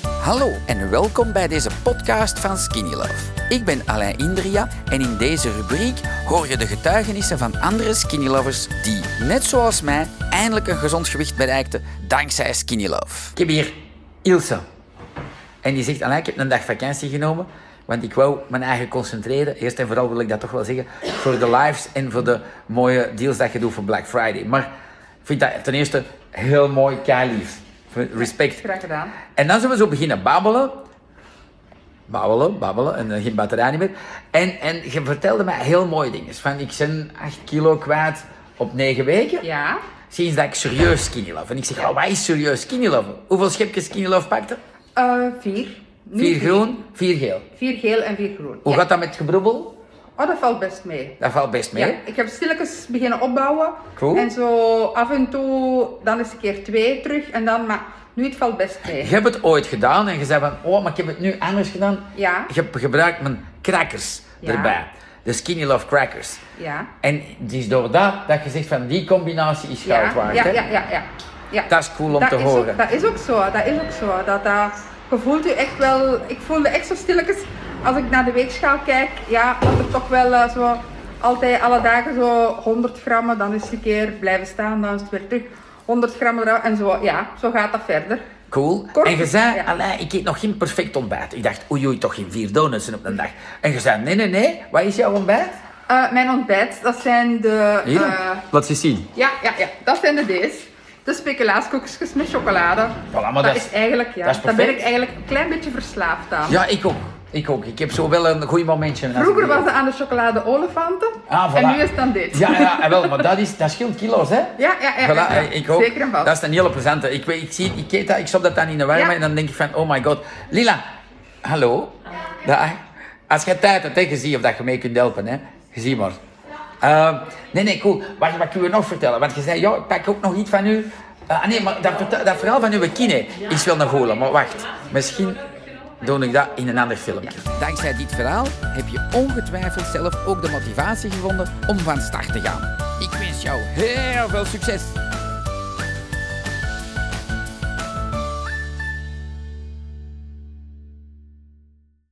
Hallo en welkom bij deze podcast van Skinny Love. Ik ben Alain Indria en in deze rubriek hoor je de getuigenissen van andere Skinny Lovers die, net zoals mij, eindelijk een gezond gewicht bereikten dankzij Skinny Love. Ik heb hier Ilse. En die zegt, Alain, ik heb een dag vakantie genomen, want ik wou mijn eigen concentreren. Eerst en vooral wil ik dat toch wel zeggen, voor de lives en voor de mooie deals dat je doet voor Black Friday. Maar ik vind dat ten eerste heel mooi, kei lief. Respect. Graag gedaan. En dan zullen we zo beginnen babbelen. Babbelen, babbelen en dan geen batterij niet meer. En, en je vertelde mij heel mooie dingen. Van ik ben 8 kilo kwijt op 9 weken. Ja, Sinds dat ik serieus skinny love. En ik zeg, oh, wat is serieus skinny love? Hoeveel schepjes skinny love pakte? Eh, vier. Nu Vier groen, vier geel. Vier geel en vier groen. Hoe Ja. gaat dat met gebroebel? Oh, dat valt best mee. Dat valt best mee. Ja, ik heb stilletjes beginnen opbouwen. Cool. En zo af en toe, dan is een keer twee terug en dan, maar nu het valt best mee. Je hebt het ooit gedaan en je zei van, oh, maar ik heb het nu anders gedaan. Ja. Je hebt gebruikt mijn crackers Ja. erbij. De skinny love crackers. Ja. En het is door dat dat je zegt van, die combinatie is goud ja, waard. ja, hè? ja, ja, ja, ja. Dat is cool om Dat te is horen. Ook, dat is ook zo, dat is ook zo. Dat, dat, je voelt je echt wel, ik voelde echt zo stilletjes, als ik naar de weegschaal kijk, ja, dat er toch wel eh, zo, altijd alle dagen zo 100 gram, dan is het een keer blijven staan, dan is het weer terug 100 gram eraf en zo, ja, zo gaat dat verder. Cool. Kort. en je zei, Ja. Alain, ik eet nog geen perfect ontbijt. Ik dacht, oei oei, toch geen vier donuts op een dag. En je zei, nee, nee, nee, wat is jouw ontbijt? Eh, mijn ontbijt, dat zijn de... eh, laat ze zien. ja, ja, ja, dat zijn de D's. De speculaaskoekjes met chocolade. maar dat, dat is- is eigenlijk, ja, dat is daar ben ik perfect. eigenlijk een klein beetje verslaafd aan. Ja, ik ook. Ik ook. Ik heb zo wel een goed momentje. als ik Vroeger die was eet. het aan de chocolade olifanten. Ah, voilà. En nu is het dan dit. Ja, ja, en wel, maar dat, is, dat scheelt kilo's, hè? ja, ja, ja, Voilà, ja, ja. eh, Ik ook. Zeker en vast. Dat is een hele plezante. Ik, weet- ik, zie, ik eet dat, ik stop dat dan in de warme Ja. en dan denk ik van, oh my god. Lila, hallo. Dag. Als je tijd hebt, hè, je ziet of dat je mee kunt helpen. Hè. Je ziet maar. Eh, nee, nee, cool. Wat, wat kunnen we nog vertellen? Want je zei, ja, ik pak ook nog iets van u. Eh, ah nee, maar dat, vertel- dat verhaal van uw kine is wel een goeie, maar wacht. Misschien doe ik dat in een ander filmpje. Dankzij dit verhaal heb je ongetwijfeld zelf ook de motivatie gevonden om van start te gaan. Ik wens jou heel veel succes!